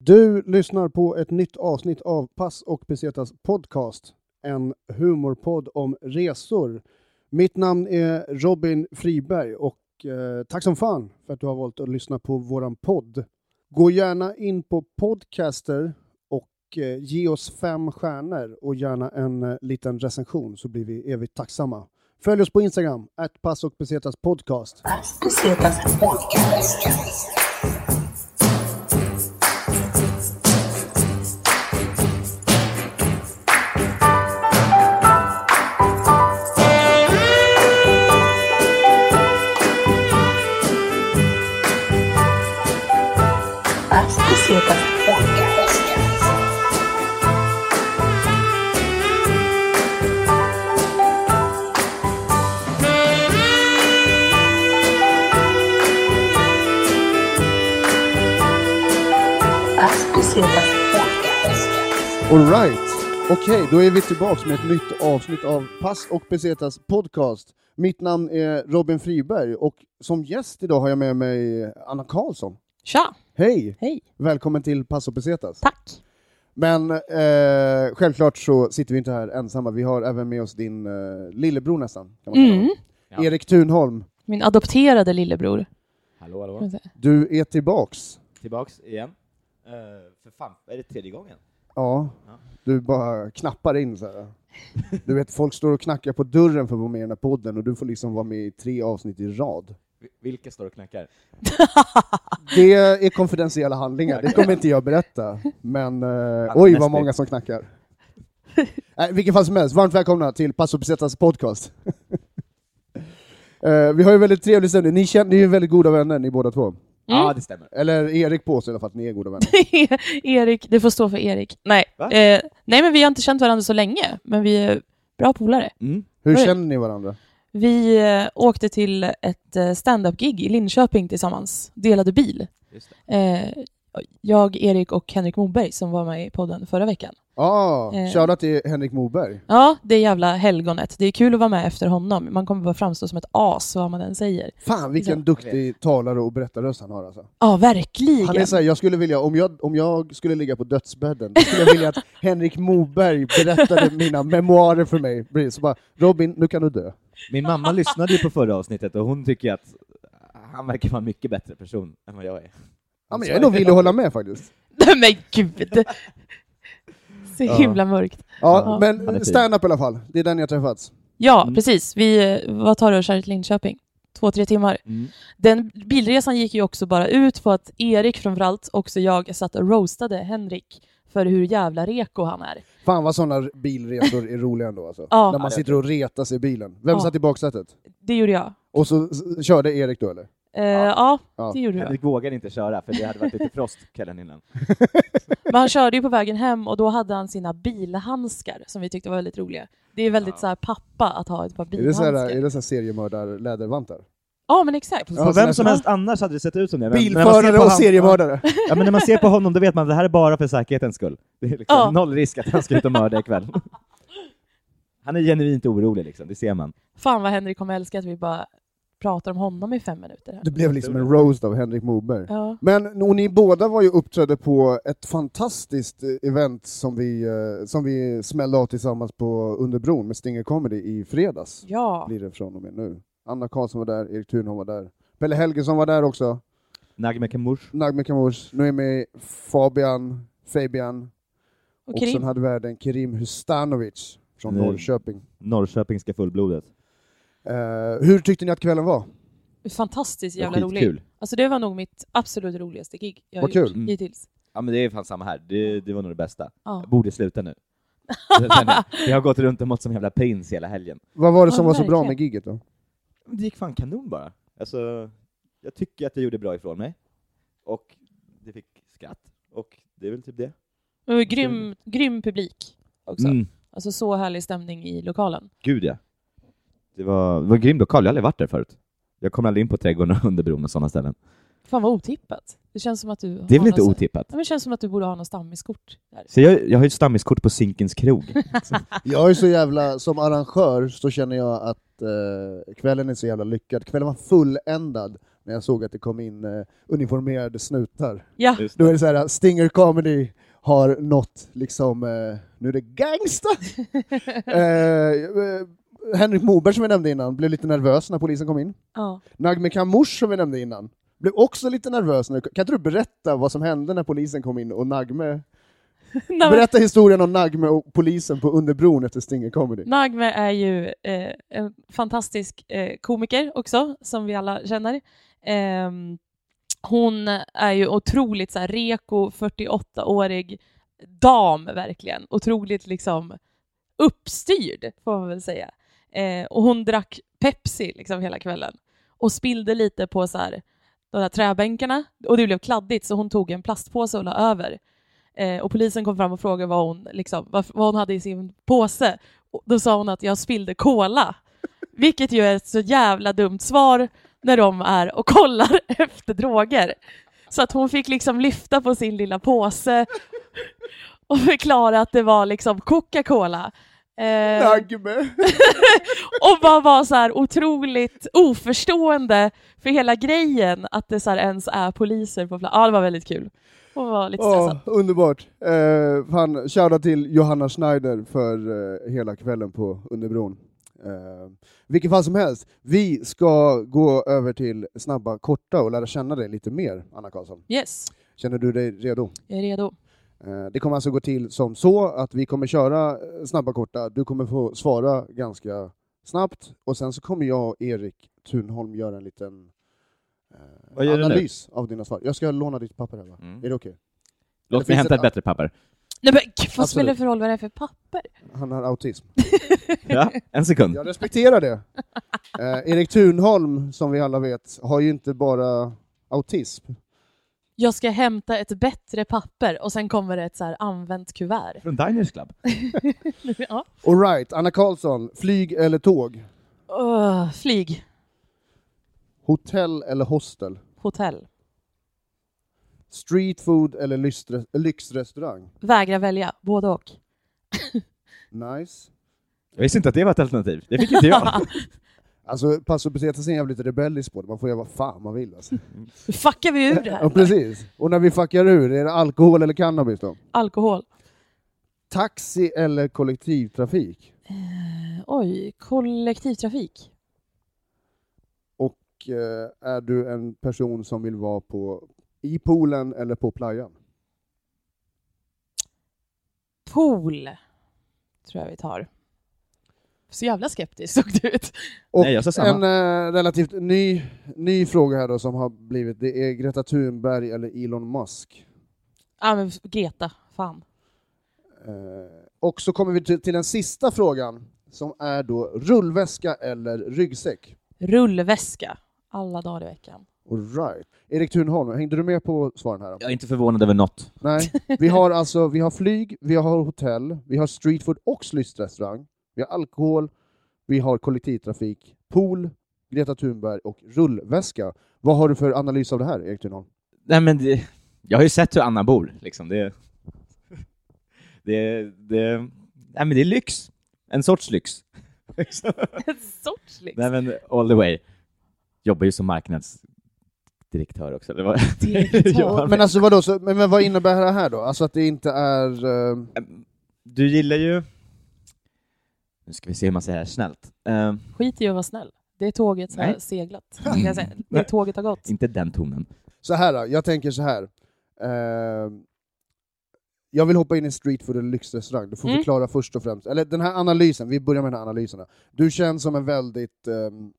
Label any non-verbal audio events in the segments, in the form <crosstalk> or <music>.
Du lyssnar på ett nytt avsnitt av Pass och Pesetas podcast, en humorpodd om resor. Mitt namn är Robin Friberg och eh, tack som fan för att du har valt att lyssna på våran podd. Gå gärna in på Podcaster och eh, ge oss fem stjärnor och gärna en eh, liten recension så blir vi evigt tacksamma. Följ oss på Instagram, att Pass och Pesetas podcast. Alright, okej, då är vi tillbaka med ett nytt avsnitt av Pass och Pesetas podcast. Mitt namn är Robin Friberg och som gäst idag har jag med mig Anna Karlsson. Tja! Hej! Hej! Välkommen till Pass och Pesetas. Tack! Men eh, självklart så sitter vi inte här ensamma, vi har även med oss din eh, lillebror nästan. Kan man säga. Mm. Ja. Erik Thunholm, Min adopterade lillebror. Hallå, kan man hallå. säga. du är tillbaks. Tillbaks igen. Eh, för fan, är det tredje gången? Ja, Ja. du bara knappar in så här. Du vet, folk står och knackar på dörren för att vara med i den här podden och du får liksom vara med i tre avsnitt i rad. Vi- Vilka står och knackar? Mm. Det är konfidentiella handlingar, det kommer inte jag berätta. Men eh, oj vad många som knackar. Nej, vilken fall som helst, varmt välkomna till Passo Pesetas podcast. Eh, vi har ju väldigt trevlig stämning, ni, känner, ni är ju väldigt goda vänner ni båda två. Ja, Mm. det stämmer. Eller Erik påstår i alla fall att ni är goda vänner. <laughs> Erik, det får stå för Erik. Nej. Va? Eh, nej, men vi har inte känt varandra så länge, men vi är bra polare. Mm. Hur Oj. känner ni varandra? vi, Vi eh, åkte till ett eh, stand-up-gig i Linköping tillsammans, delade bil. Just det. Eh, jag, Erik och Henrik Moberg som var med i podden förra veckan. Ja, ah, Eh. shoutout till Henrik Moberg. Ja, det jävla helgonet. Det är kul att vara med efter honom. Man kommer bara framstå som ett as vad man än säger. Fan vilken Ja. duktig talare och berättarröst han har alltså. Ja, verkligen. Han är såhär, jag skulle vilja, om jag, om jag skulle ligga på dödsbädden, då skulle jag vilja <laughs> att Henrik Moberg berättade mina memoarer för mig. Precis, Så bara, Robin, nu kan du dö. Min <laughs> mamma lyssnade ju på förra avsnitet och hon tycker att han verkar vara en mycket bättre person än vad jag är. Ja, men jag är nog villig att hålla med faktiskt. Nej <laughs> men gud! Så Ja. himla mörkt. Ja, Ja, han är men fin. stand-up i alla fall, det är den jag träffats. Ja, Mm. precis. Vi eh, var tar och kör till Linköping. Två, tre timmar. Mm. Den bilresan gick ju också bara ut på att Erik framförallt, också jag, satt och roastade Henrik för hur jävla reko han är. Fan vad sådana bilresor är roliga ändå alltså. Ja. När man sitter och retar sig i bilen. Vem Ja. satt i baksätet? Det gjorde jag. Och så s- körde Erik då eller? Eh, Ja. ja. Ja. det <laughs> gjorde jag. Henrik vågade inte köra för det hade varit lite frost kvällen innan. Men han körde ju på vägen hem och då hade han sina bilhandskar som vi tyckte var väldigt roliga. Det är väldigt Ja. så här pappa att ha ett par Är det såhär, är bilhandskar. det såhär seriemördar-lädervantar? Ja, men exakt. Ja, på vem nästan. som helst annars hade det sett ut som det. men- när man ser Bilförare på och han- seriemördare! Ja, men när man ser på honom då vet man att det här är bara för säkerhetens skull. Det är liksom Ja. noll risk att han ska ut och mörda ikväll. Han är genuint orolig liksom, det ser man. Fan vad Henrik kommer älska att vi bara pratar om honom i fem minuter. Här. Det blev liksom en roast av Henrik Moberg. Ja. Men och ni båda var ju uppträdde på ett fantastiskt eh, event som vi, eh, som vi smällde av tillsammans på Under bron med Stinger Comedy i fredags. ja. Blir det från och med nu. Anna Karlsson var där, Erik Thunholm var där. Pelle Helgesson var där också. Nagme Kamush. Nagme Kamours, Noemi Fabian, Fabian Och och, sen Krim. hade vi även Kerim Hustanovic från Nej. Norrköping. Norrköpingska fullblodet. Eh, hur tyckte ni att kvällen var? Fantastiskt Det var jävla rolig. skitkul. Alltså det var nog mitt absolut roligaste gig jag har Vad gjort kul. Mm. hittills. Ja men det är fan samma här, det, det var nog det bästa. Ja. Jag borde sluta nu. Det känner jag. jag har gått runt och mått som jävla prins hela helgen. Vad var det Ja, som var så bra verkligen. med gigget då? Men Det gick fan kanon bara. Alltså, jag tycker att jag gjorde bra ifrån mig. Och det fick skratt. Och det är väl typ det. Men det var grym, grym publik också. Mm. Alltså så härlig stämning i lokalen. Gud ja. Det var, det var en grym lokal, jag har aldrig varit där förut. Jag kommer aldrig in på trädgården och <laughs> under bron och sådana ställen. Fan vad otippat. Det känns som att du Det är väl har inte någon- otippat? Ja, men det känns som att du borde ha någon stammiskort. Där. Så jag, jag har ju ett stammiskort på Zinkens krog. Jag är så jävla, som arrangör så känner jag att eh, kvällen är så jävla lyckad. Kvällen var fulländad när jag såg att det kom in eh, uniformerade snutar. Ja, Just Då är det så här, Stinger Comedy har nått liksom, eh, nu är det gangsta! eh, eh, Henrik Moberg som jag nämnde innan blev lite nervös när polisen kom in. ja. Nagme Kamush som vi nämnde innan, blev också lite nervös. Nu. Kan inte du berätta vad som hände när polisen kom in och Nagme... Nej, men, Berätta historien om Nagme och polisen på Underbron efter Stinger Comedy. Nagme är ju eh, en fantastisk eh, komiker också, som vi alla känner. Ehm, hon är ju otroligt så här, reko, 48-årig dam verkligen. Otroligt liksom uppstyrd, får man väl säga. Eh, och hon drack Pepsi liksom hela kvällen och spillde lite på så här, de där träbänkarna och det blev kladdigt så hon tog en plastpåse och la över. Eh, och polisen kom fram och frågade vad hon, liksom, vad, vad hon hade i sin påse. Och då sa hon att jag spillde cola. <laughs> Vilket ju är ett så jävla dumt svar när de är och kollar <laughs> efter droger. Så att hon fick liksom lyfta på sin lilla påse <laughs> och förklara att det var liksom Coca-Cola. Eh, Nagme! och bara var så här otroligt oförstående för hela grejen att det så här ens är poliser på plats. Ja, det var väldigt kul. Hon var lite stressad. Åh, underbart! Eh, fan, shoutout till Johanna Schneider för eh, hela kvällen på Underbron. Eh, vilket fall som helst, vi ska gå över till snabba korta och lära känna dig lite mer, Anna Karlsson. Yes, Känner du dig redo? jag är redo. Eh, Det kommer alltså gå till som så att vi kommer köra eh, snabba korta. Du kommer få svara ganska snabbt och sen så kommer jag och Erik Thunholm göra en liten eh, <laughs> Vad gör du nu? analys av dina svar. Jag ska låna ditt papper här va? Mm. Är det okej? Låt mig finns hämta det- ett bättre <laughs> papper. Nej men gud, vad Absolut. spelar det för roll vad det är för papper? Han har autism. Ja, en sekund. Jag respekterar det. Eh, Erik Thunholm, som vi alla vet, har ju inte bara autism. Jag ska hämta ett bättre papper och sen kommer det ett så här använt kuvert. <laughs> Från Diners Club. Ja. All right, Anna Karlsson, flyg eller tåg? Öh, flyg, Hotell eller hostel? hotell, Street food eller lystre- lyxrestaurang? vägra välja, både och. Nice. Jag visste inte att det var ett alternativ. Det fick inte jag. Alltså Passo Pesetas är en jävligt rebellisk på det, man får göra vad fan man vill alltså. Hur <laughs> fuckar vi ur det Ja, här? precis. Och när vi fuckar ur, är det alkohol eller cannabis då? Alkohol. Taxi eller kollektivtrafik? Oj, kollektivtrafik. Och eh, är du en person som vill vara på, i poolen eller på playan? Pool tror jag vi tar. Så jävla skeptisk såg du ut. Och Nej, jag sa en samma. eh, relativt ny, ny fråga här då som har blivit, det är Greta Thunberg eller Elon Musk. Ja men Greta, fan. Eh, och så kommer vi till, till den sista frågan som är då rullväska eller ryggsäck? Rullväska, alla dagar i veckan. All right. Erik Thunholm, hängde du med på svaren här? då? Jag är inte förvånad över något. Nej. Vi har alltså, vi har flyg, vi har hotell, vi har streetfood och lystrestaurang, vi har alkohol, vi har kollektivtrafik, pool, Greta Thunberg och rullväska. Vad har du för analys av det här, Erik Thunholm? Nej, men det... Jag har ju sett hur Anna bor, liksom. Det... Det... det... Nej, men det är lyx. En sorts lyx. Liksom. En sorts liksom. lyx. Nej, men all the way. Jobbar ju som marknadsdirektör också, eller <laughs> vad? Direktör. Jobbar med- Men alltså vadå, så, men, men vad innebär det här då? Alltså att det inte är... eh, Du gillar ju... Nu ska vi se hur man säger det här snällt. Eh, Skit i att vara snäll. Det är tåget som Nej. <laughs> har seglat. kan Jag säga. Det Nej. tåget har gått. inte den tonen. så här då, jag tänker så här. Eh, jag vill hoppa in i streetfood eller lyxrestaurang. Du får Mm. förklara först och främst. Eller den här analysen, vi börjar med den här analysen. då. Du känns som en väldigt... ehm,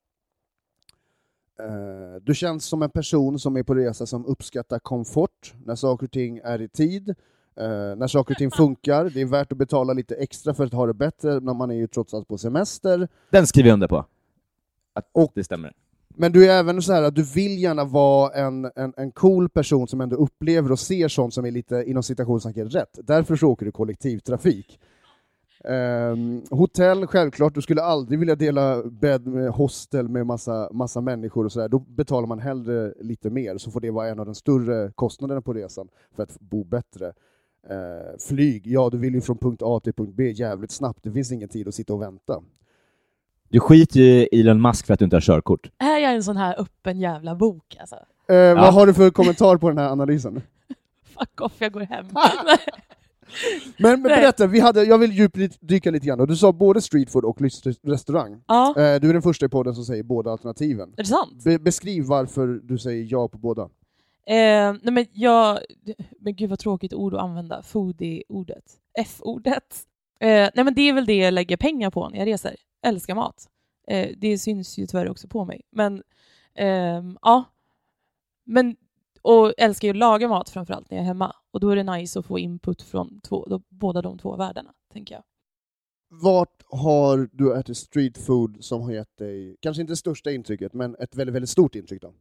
eh, du känns som en person som är på resa som uppskattar komfort, när saker och ting är i tid, eh, när saker och ting funkar. Det är värt att betala lite extra för att ha det bättre, när man är ju trots allt på semester. Den skriver jag under på. Att Och- det stämmer. Men du är även så här att du vill gärna vara en, en, en cool person som ändå upplever och ser sånt som är lite inom citationstecken rätt. Därför så åker du kollektivtrafik. Ehm, hotell, självklart. Du skulle aldrig vilja dela bädd med hostel med massa, massa människor och sådär. Då betalar man hellre lite mer, så får det vara en av de större kostnaderna på resan för att bo bättre. Ehm, flyg, ja du vill ju från punkt A till punkt B jävligt snabbt. Det finns ingen tid att sitta och vänta. Du skiter ju i Elon Musk för att du inte har körkort. Är jag en sån här öppen jävla bok alltså? Eh, Ja. Vad har du för kommentar på den här analysen? Fuck off, jag går <laughs> hem. Men, men Nej. berätta, vi hade, jag vill djupdyka lite grann. Du sa både streetfood och lyx- restaurang. ja, är Eh, du är den första i podden som säger båda alternativen. det sant? Be- beskriv varför du säger ja på båda. Eh, nej men jag... Men gud vad tråkigt ord att använda. Foodie-ordet. F-ordet. Eh, nej men det är väl det jag lägger pengar på när jag reser. Älskar mat. Eh, det syns ju tyvärr också på mig. Men ehm, ja. Men, och älskar ju att laga mat framförallt när jag är hemma. Och då är det nice att få input från två, då, båda de två världarna, tänker jag. Vart har du ätit streetfood som har gett dig, kanske inte det största intrycket, men ett väldigt, väldigt stort intryck då?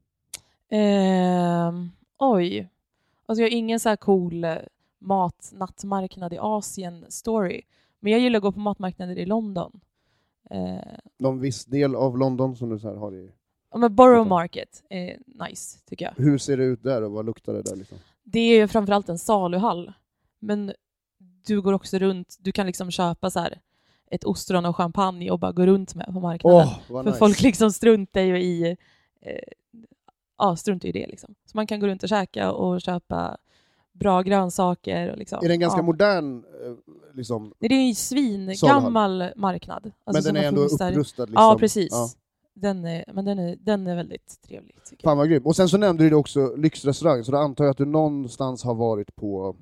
Ehm, oj. Alltså jag har ingen så här cool eh, matnattmarknad i Asien story. Men jag gillar att gå på matmarknader i London. Eh, Någon viss del av London som du så här har i... ja, men Borough Fattar. Market är nice tycker jag. Hur ser det ut där och vad luktar det där? Liksom? Det är ju framförallt en saluhall. Men du går också runt, du kan liksom köpa så här ett ostron och champagne och bara gå runt med på marknaden. Åh, vad För nice! folk liksom struntar ju i eh, ja, struntar ju i det. Liksom. Så man kan gå runt och käka och köpa bra grönsaker. Och liksom, Är den ganska ja. modern, eh, liksom, Nej, det är ju en svingammal marknad. Alltså men som den har är ändå funnits där- upprustad? Liksom. Ja, precis. Ja. Den, är, men den, är, den är väldigt trevlig. Tycker jag. Fan vad grym. Och sen så nämnde du också lyxrestaurang, så då antar jag att du någonstans har varit på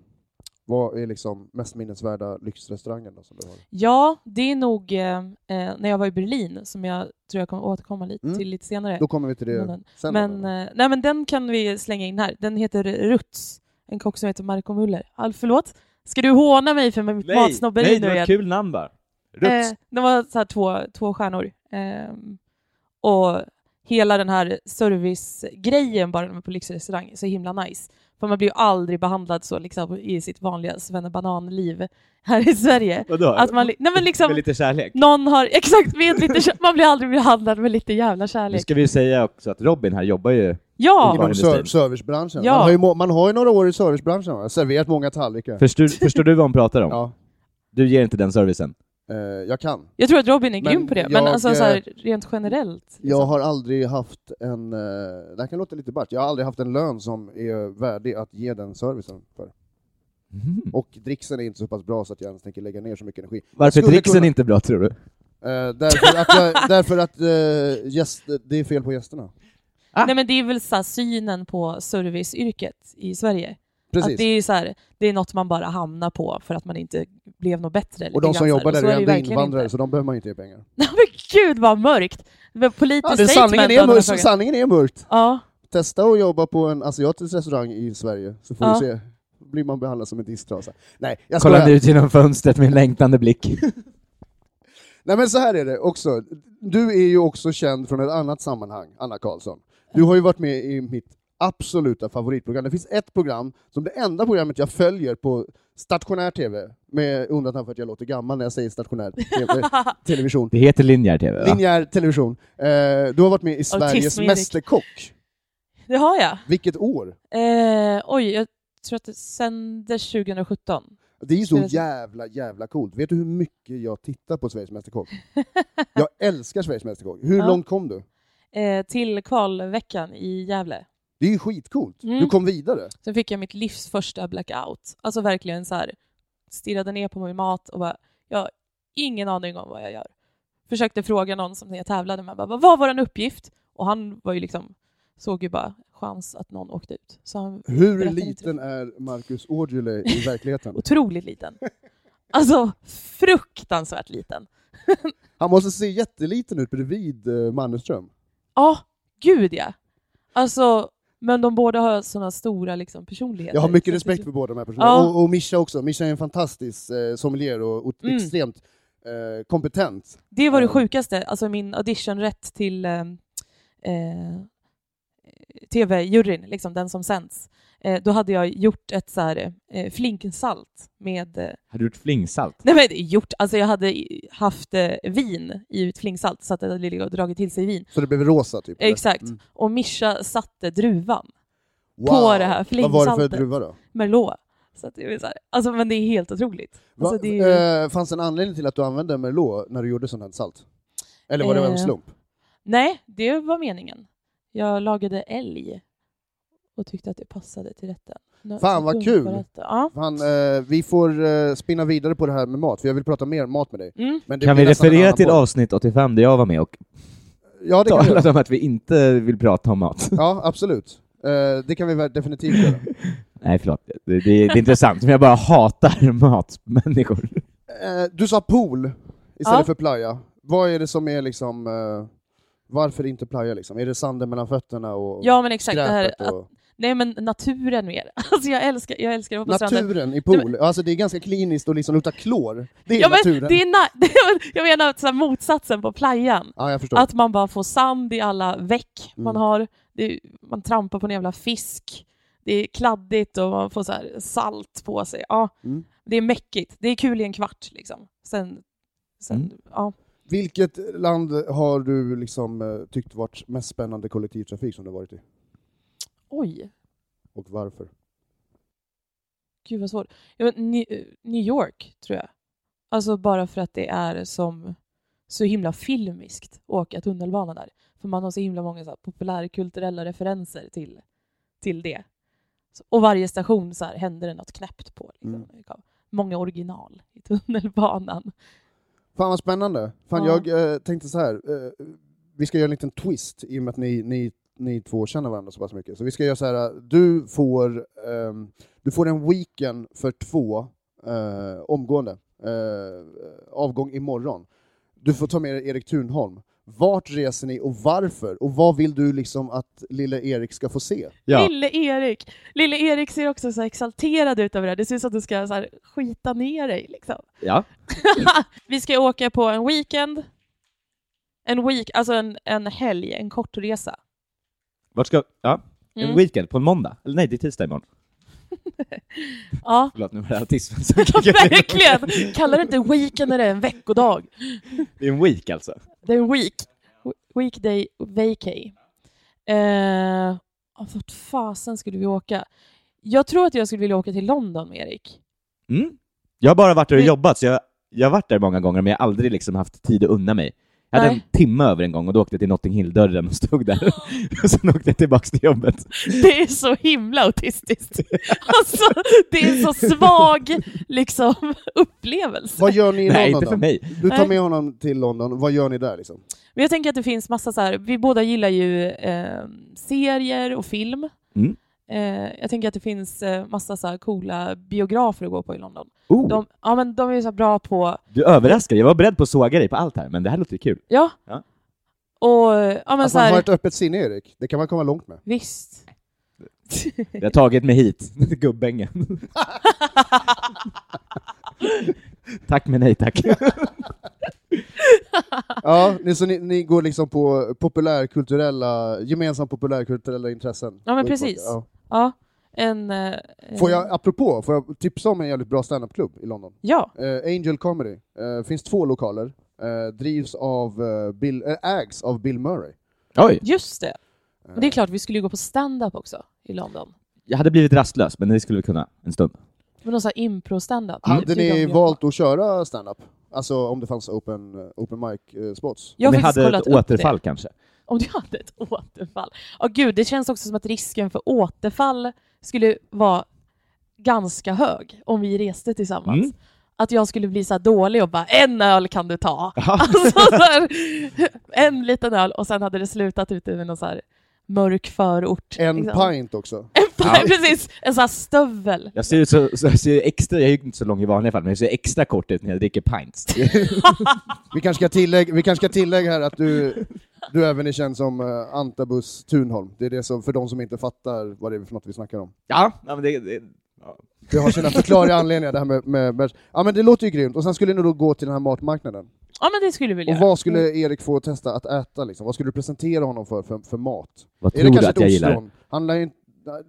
vad är liksom mest minnesvärda lyxrestaurangen då som du har? Ja, det är nog eh, eh, när jag var i Berlin, som jag tror jag kommer återkomma lite, Mm. till lite senare. Då kommer vi till det Men- sen. Men, eh, nej, men den kan vi slänga in här. Den heter Ruts. En kock som heter Marco Muller. All, förlåt? Ska du håna mig för mitt matsnobberi nej, nu det var igen? ett kul namn bara. Ruts. Eh, det var så här två, två stjärnor. Ehm, och hela den här servicegrejen bara när man är på lyxrestaurang är så himla nice. För man blir ju aldrig behandlad så liksom, i sitt vanliga svennebananliv här i Sverige. Vadå? Att man, li- nej <laughs> men Med liksom, lite kärlek. någon har, <laughs> exakt, med lite, kär- man blir aldrig behandlad med lite jävla Nu kärlek. ska vi ju säga också att Robin här jobbar ju... Ja! Inom Inom ser- industrin. servicebranschen. Ja. Man, har ju, må- man har ju några år i servicebranschen, va? serverat många tallrikar. Förstår, förstår du vad hon pratar om? Ja, Du ger inte den servicen. eh, jag kan. Jag tror att Robin är Men grym på det, men jag, eh, alltså, så här, rent generellt. Liksom. Jag har aldrig haft en, eh, det här kan låta lite bart, jag har aldrig haft en lön som är värdig att ge den servicen för. Och dricksen är inte så pass bra så att jag ens tänker lägga ner så mycket energi. Varför är skulle dricksen kunna- inte bra tror du? Eh, därför att, <laughs> jag, därför att eh, gäst, det är fel på gästerna. Ah. Nej men det är väl så här, synen på serviceyrket i Sverige. Precis. Att det, är så här, det är något man bara hamnar på för att man inte blev något bättre. Och lite de grann så som här. jobbar där så är det ju ändå verkligen invandrare, inte. så de behöver man inte ge pengar. Nej, <laughs> men gud vad mörkt! Det var Politiskt Ja, det, sanningen, statement är av den här mörkt, frågan. sanningen är mörkt. Ja, <laughs> Testa att jobba på en asiatisk restaurang i Sverige, så får Ja. du se. Då blir man behandlad som en disktrasa. Nej, jag skojar. Kollade ut genom fönstret med en längtande blick. Nej men så här är det också. Du är ju också känd från ett annat sammanhang, Anna Karlsson. Du har ju varit med i mitt absoluta favoritprogram. Det finns ett program, som det enda programmet jag följer på stationär TV, med undantag för att jag låter gammal när jag säger stationär <laughs> TV, television. Det heter linjär TV va? Linjär television. Eh, du har varit med i Sveriges Erik. Mästerkock. det har jag. Vilket år? Eh, oj, jag tror att det sändes 2017. Det är ju så Sveriges- jävla, jävla coolt. Vet du hur mycket jag tittar på Sveriges <laughs> Mästerkock? Jag älskar Sveriges Mästerkock. Hur Ja. långt kom du? Eh, till kvalveckan i Gävle. Det är ju skitcoolt. Mm. Du kom vidare. Sen fick jag mitt livs första blackout. Alltså verkligen så här stirrade ner på min mat och bara, jag har ingen aning om vad jag gör. Försökte fråga någon som jag tävlade med, bara, vad var vår uppgift? Och han var ju liksom, såg ju bara chans att någon åkte ut. Så han Hur Berätta lite. liten är Marcus Aujalay i verkligheten? <laughs> otroligt liten. Alltså fruktansvärt liten. Han måste se jätteliten ut bredvid eh, Mannerström. Ja, gud ja. Alltså, men de båda har sådana stora liksom, personligheter. Jag har Så mycket att respekt det- för båda de här personerna. Ja. Och, och Mischa också. Mischa är en fantastisk eh, sommelier och, och Mm. extremt eh, kompetent. Det var det Mm. sjukaste, alltså min auditionrätt till eh, eh, tv-juryn, liksom den som sänds. Eh, då hade jag gjort ett så här, eh, flingsalt med... Eh, Har du gjort flingsalt? nej men gjort, alltså jag hade i- haft eh, vin i ett flingsalt så att det hade legat och dragit till sig vin. Så det blev rosa typ? eller? Exakt. Mm. Och Mischa satte druvan, Wow. På det Vad här var det för flingsaltet. druva då? Merlot. Så att det är så här, alltså men det är helt otroligt. Alltså, Va, det är, eh, fanns en anledning till att du använde Merlot när du gjorde sånt här salt? Eller var det en Eh, slump? Nej, det var meningen. Jag lagade älg och tyckte att det passade till rätten. Nå- Fan, vad dumt kul! var detta. Ja. Fan, eh, vi får eh, spinna vidare på det här med mat, för jag vill prata mer mat med dig. Mm. Men det Kan blir vi nästan en referera annan till podd. avsnitt 85 där jag var med och Ja, det kan vi göra. talade om att vi inte vill prata om mat? Ja, absolut. Eh, det kan vi väl definitivt göra. Nej, förlåt. Det, det, det är intressant, men jag bara hatar matmänniskor. Eh, du sa pool istället Ja. för playa. Vad är det som är liksom... Eh, varför inte playa liksom? Är det sanden mellan fötterna och ja, men exakt. Det här, skräpet att, och... nej, men naturen mer. <laughs> Alltså, jag älskar, jag älskar att vara på stranden. Naturen i pool? Alltså det är ganska kliniskt och liksom lukta klor. Det är Ja, men naturen. det är <laughs> na- jag menar så här, motsatsen på playan. Ja, jag förstår. Att man bara får sand i alla veck man Mm. har. Det, man trampar på en jävla fisk. Det är kladdigt och man får så här salt på sig. Ja, Mm. Det är mäckigt. Det är kul i en kvart. Liksom. Sen, sen, Mm. ja. Vilket land har du liksom, eh, tyckt varit mest spännande kollektivtrafik som du har varit i? Oj, Och varför? gud vad svårt. Ja, men New, New York, tror jag. Alltså bara för att det är som så himla filmiskt att åka tunnelbana där. För man har så himla många så här, populärkulturella referenser till, till det. Så- Och varje station så här, händer det något knäppt på. Liksom. Många original i tunnelbanan. Fan vad spännande. Fan, Ja. Jag eh, tänkte så här, eh, vi ska göra en liten twist i och med att ni, ni, ni två känner varandra så pass mycket. Så vi ska göra så här, eh, du får, ehm, du får en weekend för två eh, omgående. Eh, avgång imorgon. Du får ta med dig Erik Thunholm. Vart reser ni och varför? Och vad vill du liksom att lille Erik ska få se? Lille Erik. Lille Erik ser också så här exalterad ut över det här. Det ser ut som att du ska så här skita ner dig. Liksom. ja. Vi ska åka på en weekend. En week, alltså en, en helg, en kort resa. Vart ska... Ja. En Mm. weekend på en måndag? Eller nej, det är tisdag imorgon. Ja, <laughs> Förlåt, nu var det autismen som kickade in. verkligen. Kallar det inte weekend när det är en veckodag. Det är en week alltså. Det är en week. We- Weekday vacay. Eh, ja, vart fasen skulle vi åka? Jag tror att jag skulle vilja åka till London med Erik. <laughs> Mm. Jag har bara varit där och Vi- jobbat, så jag, jag har varit där många gånger, men jag har aldrig liksom haft tid att unna mig. Jag hade Nej. en timme över en gång och då åkte jag till Notting Hill-dörren och stod där. <laughs> och sen åkte jag tillbaks till jobbet. Det är så himla autistiskt. Alltså, det är en så svag liksom, upplevelse. Vad gör ni i Nej, London inte för då? mig. Du tar Nej. med honom till London, vad gör ni där liksom? Men jag tänker att det finns massa så här, vi båda gillar ju eh, serier och film. Mm. Eh, jag tänker att det finns eh, massa så här coola biografer att gå på i London. Oh, De, ja, men de är ju så här bra på, Du överraskar. Jag var beredd på att såga dig på allt här, men det här låter ju kul. ja. Ja. Och, eh, ja Att men så man Alltså, har här, ett öppet sinne Erik, det kan man komma långt med. <laughs> visst. Jag har tagit mig hit, <laughs> <laughs> gubbängen. tack men nej tack. Ja, ni, så ni, ni går liksom på populärkulturella, gemensamt populärkulturella intressen? Ja, men Och- precis. ja. ja, en... eh, Får jag, apropå, får jag tipsa om en jävligt bra standupklubb i London? Ja, Eh, Angel Comedy. Eh, finns två lokaler. Eh, drivs av eh, Bill, eh, ägs av Bill Mm. Murray. Oj, just det. Eh, Det är klart, vi skulle ju gå på stand-up också i London. jag hade blivit rastlös, men det skulle vi kunna en stund. Men någon sån här impro-stand-up. Hade Det är de ni jag- valt att köra standup? Alltså om det fanns open, eh, open mic-spots? Jag har Om vi faktiskt hade kollat ett upp det. återfall kanske. Om du hade ett återfall. Åh gud, det känns också som att risken för återfall skulle vara ganska hög om vi reste tillsammans. Mm. Att jag skulle bli så här dålig och bara en öl kan du ta. Jaha. <laughs> Alltså, så här, en liten öl och sen hade det slutat ute i någon så här mörk förort. En liksom. <laughs> pint också. En pint, Ja. precis! En sån här stövel. Jag ser ut så, så jag ser extra, jag är ju inte så lång i vanliga fall, men jag ser extra kort ut när jag dricker pints. Vi kanske ska tillägga, vi kanske ska tillägga här att du, du även är känd som eh, Antabus Thunholm. Det är det som, för de som inte fattar vad det är för något vi snackar om. ja, ja, men det, det, Det har sina förklarliga anledningar det här med, med, med... Ja men det låter ju grymt, och sen skulle ni då gå till den här matmarknaden. Ja men det skulle vi vilja Och vad skulle Erik få testa att äta liksom? Vad skulle du presentera honom för, för, för mat? vad är det tror du kanske att jag gillar? ostron? Han, lär ju inte,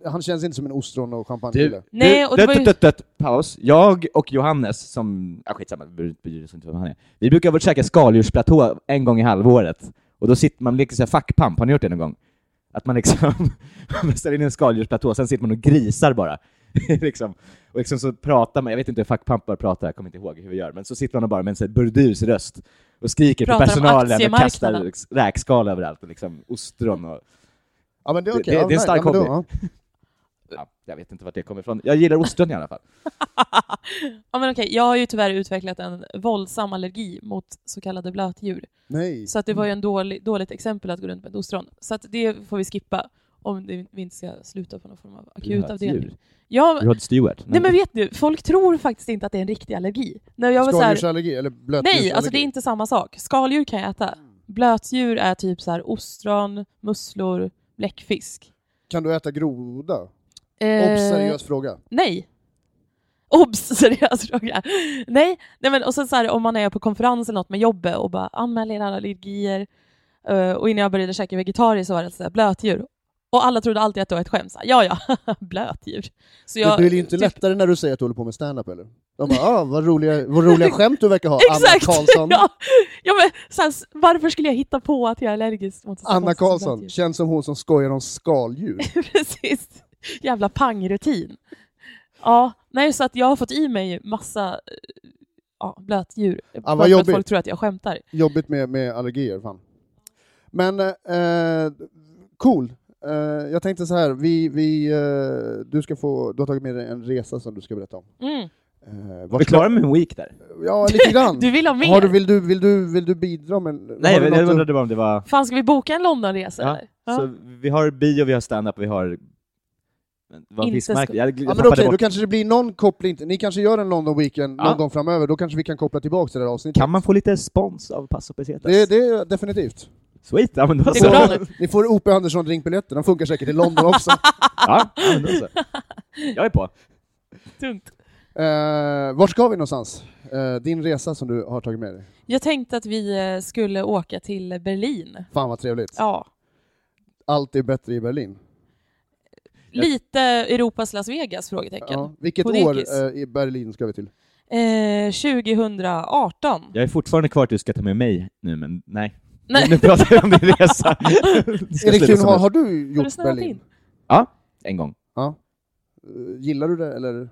han känns inte som en ostron och Du, champagnekille. Nej, och det dött, var ju- dött, dött, dött, paus. Jag och Johannes, som, ah, skitsamma, vi bryr oss inte vem han är. Vi brukar väl käka skaldjursplatå en gång i halvåret, och då sitter man, leker såhär fackpamp, har ni gjort det någon gång? <laughs> Att man <laughs> liksom, man ställer in en skaldjursplatå, sen sitter man och grisar bara. liksom. Och liksom så pratar man, jag vet inte hur fackpampar pratar, jag kommer inte ihåg hur vi gör, men så sitter man och bara med en sån här burdus röst och skriker Pratar om på personalen och kastar aktiemarknaden. liksom räkskal överallt och liksom ostron och... Ja, men det är Det- okej. det- Ja, det är en nej, stark ja, men då- hobby. Ja, jag vet inte vart det kommer ifrån. Jag gillar ostron i alla fall. ja, men okej, jag har ju tyvärr utvecklat en våldsam allergi mot så kallade blötdjur. ja. Nej. Så att det var ju en dålig, dåligt exempel att gå runt med ett ostron. Så att det får vi skippa om det, vi inte ska sluta på någon form av akutavdelning. Mm. Djur. Ja, Rod Stewart. nej men vet du, folk tror faktiskt inte att det är en riktig allergi. När jag var så här, Skaldjursallergi eller blötdjursallergi? nej, alltså det är inte samma sak. Skaldjur kan jag äta. Blötdjur är typ så här ostron, musslor, bläckfisk. Kan du äta groda? Eh, Obs, seriös fråga. Nej. Obs, <laughs> seriös fråga. Nej, nej men och sen så här, om man är på konferens eller något med jobbet och bara anmäl era allergier. Eh, och innan jag började käka vegetariskt så var det så här, blötdjur. Och alla trodde alltid att det var ett skämt. Så här, ja, ja, <laughs> blötdjur. Så jag, det blir ju inte typ- lättare när du säger att du håller på med stand-up eller? De bara, ah, vad roliga, vad <laughs> roliga skämt du verkar ha, Exakt! <laughs> Anna Karlsson. ja, ja, men, så här, s- varför skulle jag hitta på att jag är allergisk mot Anna mot Karlsson, typ. blötdjur? känns som hon som skojar om skaldjur. <laughs> Precis. Jävla pangrutin. Ja, nej, så att jag har fått i mig massa eh, ja, blötdjur. vad Bara för att jobbigt. folk tror att jag skämtar. Jobbigt med, med allergier, fan. Men, eh, cool. Eh, jag tänkte så här, vi, vi, eh, du, ska få, du har tagit med dig en resa som du ska berätta om. Mm. Eh, Var vart vi klara med en week där? ska- Ja, lite <laughs> grann. Du vill ha mer? har du, vill, du, vill, du, vill du bidra med... Nej, har du men något jag du- undrade bara om det var... Fan, ska vi boka en Londonresa Ja, eller? Så vi har bio, vi har stand-up, vi har... Men Vad Inte finns marknaden? Jag, jag Ja, men tappade okej, då bort. kanske det blir någon koppling. till- Ni kanske gör en London Weekend Ja. någon gång framöver, då kanske vi kan koppla tillbaka till det här avsnittet. Kan man få lite spons av Passo Pesetas? Det, det är definitivt. Sweet, ja men då Det så. går bra nu. Ni får OP Andersson drinkbiljetter, de funkar säkert i London <laughs> också. Ja, ja, men då så. Jag är på. Tungt. uh, vart ska vi någonstans? Eh, din resa som du har tagit med dig. Jag tänkte att vi eh, skulle åka till Berlin. Fan vad trevligt. Ja. Allt är bättre i Berlin. Jag- Lite Europas Las Vegas? frågetecken. Ja. Vilket Podekis. år eh, i Berlin ska vi till? Eh, 2018. Jag är fortfarande kvar att du ska ta med mig nu, men nej. Nej. Nu pratar vi om din resa. Det ska Erik sluta Thun, som har, en- har du Har du gjort snöat Berlin? in? En gång. Eh, gillar du det eller?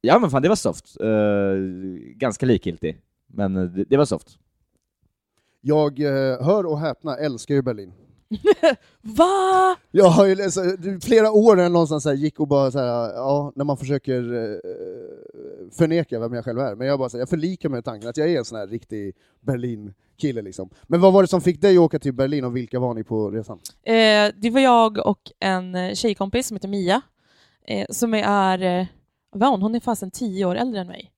Ja men fan, det var soft. Eh, ganska likgiltig. Men eh, det, det var soft. Jag, eh, hör och häpna, älskar ju Berlin. Va? Jag har ju alltså, det- flera år när jag någonstans så här gick och bara så här, eh, ja, när man försöker eh, förneka vem jag själv är, men jag bara så här, jag förlikar mig med tanken att jag är en sån här riktig Berlin-kille liksom. Men vad var det som fick dig att åka till Berlin och vilka var ni på resan? Eh, det var jag och en eh, tjejkompis som heter Mia, eh, som är, eh, vad är hon? Hon är fasen tio år äldre än mig.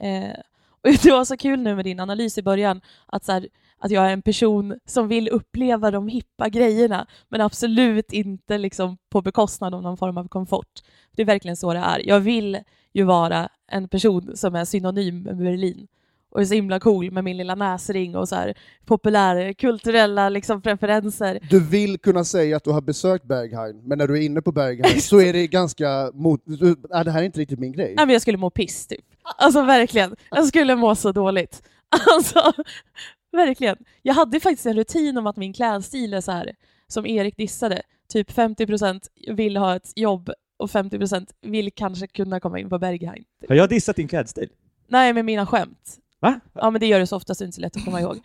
Eh, <laughs> och det var så kul nu med din analys i början, att, så här, att jag är en person som vill uppleva de hippa grejerna, men absolut inte liksom på bekostnad av någon form av komfort. Det är verkligen så det är. Jag vill ju vara en person som är synonym med Berlin och är så himla cool med min lilla näsring och så här populärkulturella liksom preferenser. Du vill kunna säga att du har besökt Berghain, men när du är inne på Berghain så är det ganska mot... du- Nej, det här är inte riktigt min grej. Nej men jag skulle må piss typ. Alltså verkligen. Jag skulle må så dåligt. Alltså verkligen. Jag hade faktiskt en rutin om att min klädstil är så här som Erik dissade. Typ 50% vill ha ett jobb och 50% vill kanske kunna komma in på Berghain. Typ. Har jag dissat din klädstil? Nej men mina skämt. Va? Ja men det gör det så oftast inte så lätt att <laughs> komma ihåg.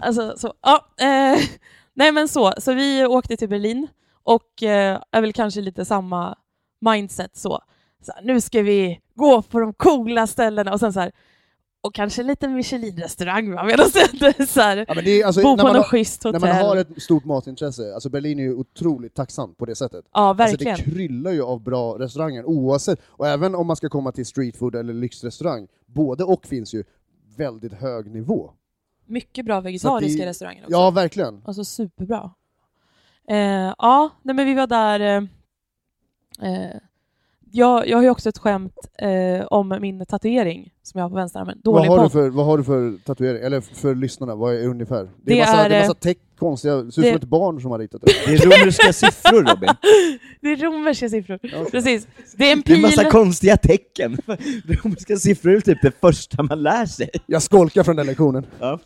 Alltså, så, ja, eh, <laughs> nej men så, så vi åkte till Berlin och eh, är väl kanske lite samma mindset så. så här, nu ska vi gå på de coola ställena och sen så här, och kanske en liten Michelin-restaurang va? Medan <laughs> det är så här, Ja, men det är, alltså, bo när, på man något har, schysst när hotell. man har ett stort matintresse, alltså Berlin är ju otroligt tacksamt på det sättet. ja Alltså verkligen. det kryllar ju av bra restauranger oavsett, och även om man ska komma till streetfood eller lyxrestaurang, både och finns ju väldigt hög nivå. Mycket bra vegetariska Så att det- restauranger också. Ja, verkligen. Alltså superbra. Eh, ja, nej men vi var där... eh, Eh, jag, jag har ju också ett skämt eh, om min tatuering som jag har på vänsterarmen. Vad Dålig har, du podd. för, vad har du för tatuering? Eller för lyssnarna, vad är ungefär? Det är Det massa, är, det är eh, massa teck, konstiga, det ser ut det- som ett barn som har ritat <laughs> det. Det är romerska siffror Robin. <laughs> Det är romerska siffror. okej. Precis. Det är en Det är en pil. massa konstiga tecken. Romerska siffror är typ det första man lär sig. Jag skolkar från den lektionen. Ja.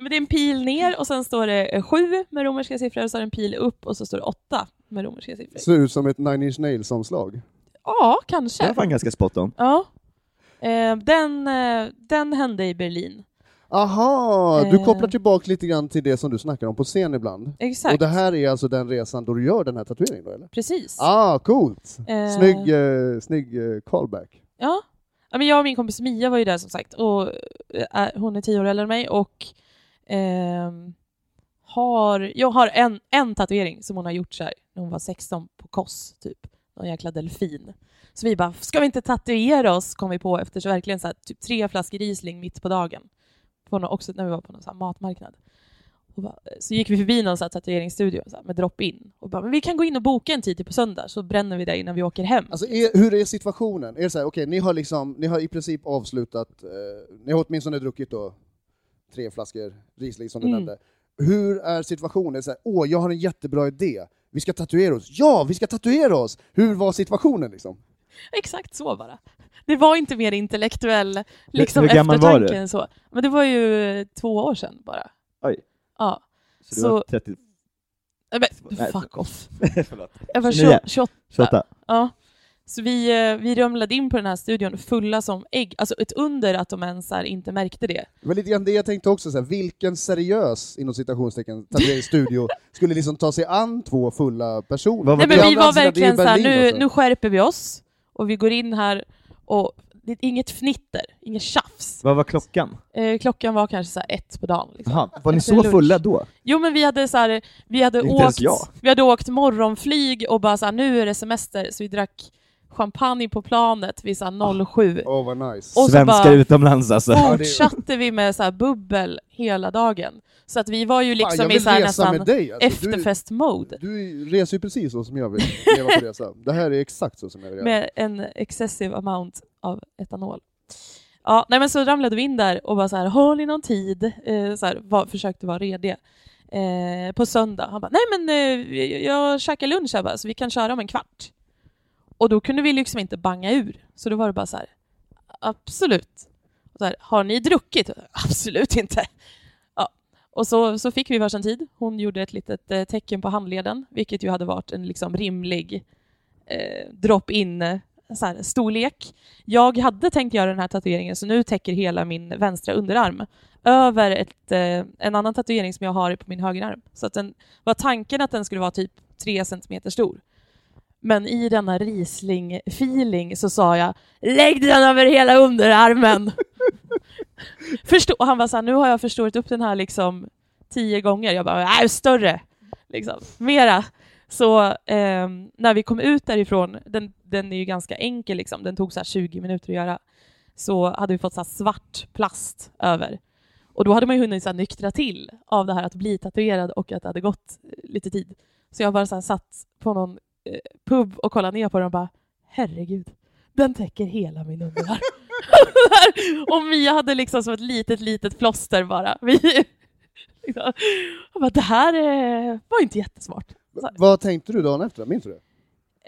Men det är en pil ner och sen står det eh, sju med romerska siffror och så är det en pil upp och så står det åtta med romerska siffror. Ser ut som ett Nine Inch Nails-omslag. Ja, Det var kanske. fan ganska spot on. Ja. Eh, den, eh, den hände i Berlin. Aha, du Eh. kopplar tillbaka lite grann till det som du snackar om på scen ibland. Exakt. Och det här är alltså den resan då du gör den här tatueringen då eller? Precis. Ah, coolt! Eh, Snygg, eh, snygg eh, callback. Ja. ja men jag och min kompis Mia var ju där som sagt. Och, eh, hon är tio år äldre än mig och ehm, har, jag har en, en tatuering som hon har gjort så här, när hon var 16 på Koss, typ. Någon jäkla delfin. Så vi bara, ska vi inte tatuera oss? kom vi på efter så verkligen så här, typ tre flaskor Riesling mitt på dagen. På någon, också när vi var på någon så här matmarknad. Och bara, eh, så gick vi förbi någon så här tatueringsstudio så här, med drop-in och bara, men vi kan gå in och boka en tid till på söndag så bränner vi det innan vi åker hem. Alltså, är, hur är situationen? Är det så här, okej, ni har liksom, ni har i princip avslutat, eh, ni har åtminstone druckit då tre flaskor Riesling som du Mm. nämnde. Hur är situationen? Är det så här, åh, jag har en jättebra idé, vi ska tatuera oss. Ja, vi ska tatuera oss! Hur var situationen liksom? Exakt så bara. Det var inte mer intellektuell liksom, hur gammal var eftertanke du? än så. Men det var ju två år sedan bara. Oj. Ja. Så, du Så- var 30... Äh, Nej, Men, fuck off. <laughs> Förlåt. Jag var 29. 28. 28. Ja. Så vi, eh, vi ramlade in på den här studion fulla som ägg. Alltså ett under att de ens här, inte märkte det. Det var lite grann det jag tänkte också, så här, vilken seriös, inom citationstecken, <laughs> tatueringsstudio skulle liksom ta sig an två fulla personer? Vad Nej var Det är men vi andra var sidan, det är verkligen så här, Berlin alltså. nu, också. nu skärper vi oss och vi går in här och det är inget fnitter, inget tjafs. Vad var klockan? Eh, klockan var kanske så här ett på dagen. Liksom. Jaha, var ni Efter så lunch. fulla då? Jo men vi hade så här, vi hade Inte ens åkt, jag. vi hade åkt morgonflyg och bara så här, nu är det semester så vi drack champagne på planet vid så Ah. här 07. Åh, vad nice. Och så Svenskar bara- utomlands alltså. Fortsatte vi med så här bubbel hela dagen. Så att vi var ju Fan, jag liksom i vill så här resa nästan med dig! Alltså, du, efterfest-mode du reser ju precis så som jag <laughs> vill leva på resa. Det här är exakt så som jag vill göra. med en excessive amount av etanol. Ja, nej men så ramlade vi in där och bara så här, har ni någon tid? Eh, så här, var, försökte vara rediga. Eh, på söndag, han bara, nej men eh, jag- jag käkar lunch här bara, så vi kan köra om en kvart. Och då kunde vi liksom inte banga ur, så då var det bara så här, absolut. Och Så här, har ni druckit? Absolut inte. Ja. Och så, så fick vi varsin tid. Hon gjorde ett litet eh, tecken på handleden, vilket ju hade varit en liksom rimlig eh, drop-in eh, så här, storlek. Jag hade tänkt göra den här tatueringen så nu täcker hela min vänstra underarm över ett, eh, en annan tatuering som jag har på min högerarm. Så att den var tanken att den skulle vara typ tre centimeter stor. Men i denna Riesling-feeling så sa jag Lägg den över hela underarmen! <laughs> Förstå och han var så här, nu har jag förstorat upp den här liksom tio gånger. Jag bara, nej, större! Liksom, mera! Så ehm, när vi kom ut därifrån, den, den är ju ganska enkel, liksom. den tog så här 20 minuter att göra, så hade vi fått så här svart plast över. Och då hade man ju hunnit så här nyktra till av det här att bli tatuerad och att det hade gått eh, lite tid. Så jag bara så här satt på någon eh, pub och kollade ner på den och bara herregud, den täcker hela min underarm. <laughs> och Mia hade liksom som ett litet, litet plåster bara. Vi, <laughs> liksom, jag bara, det här eh, var inte jättesmart. V- Vad tänkte du dagen efter? Minns du det?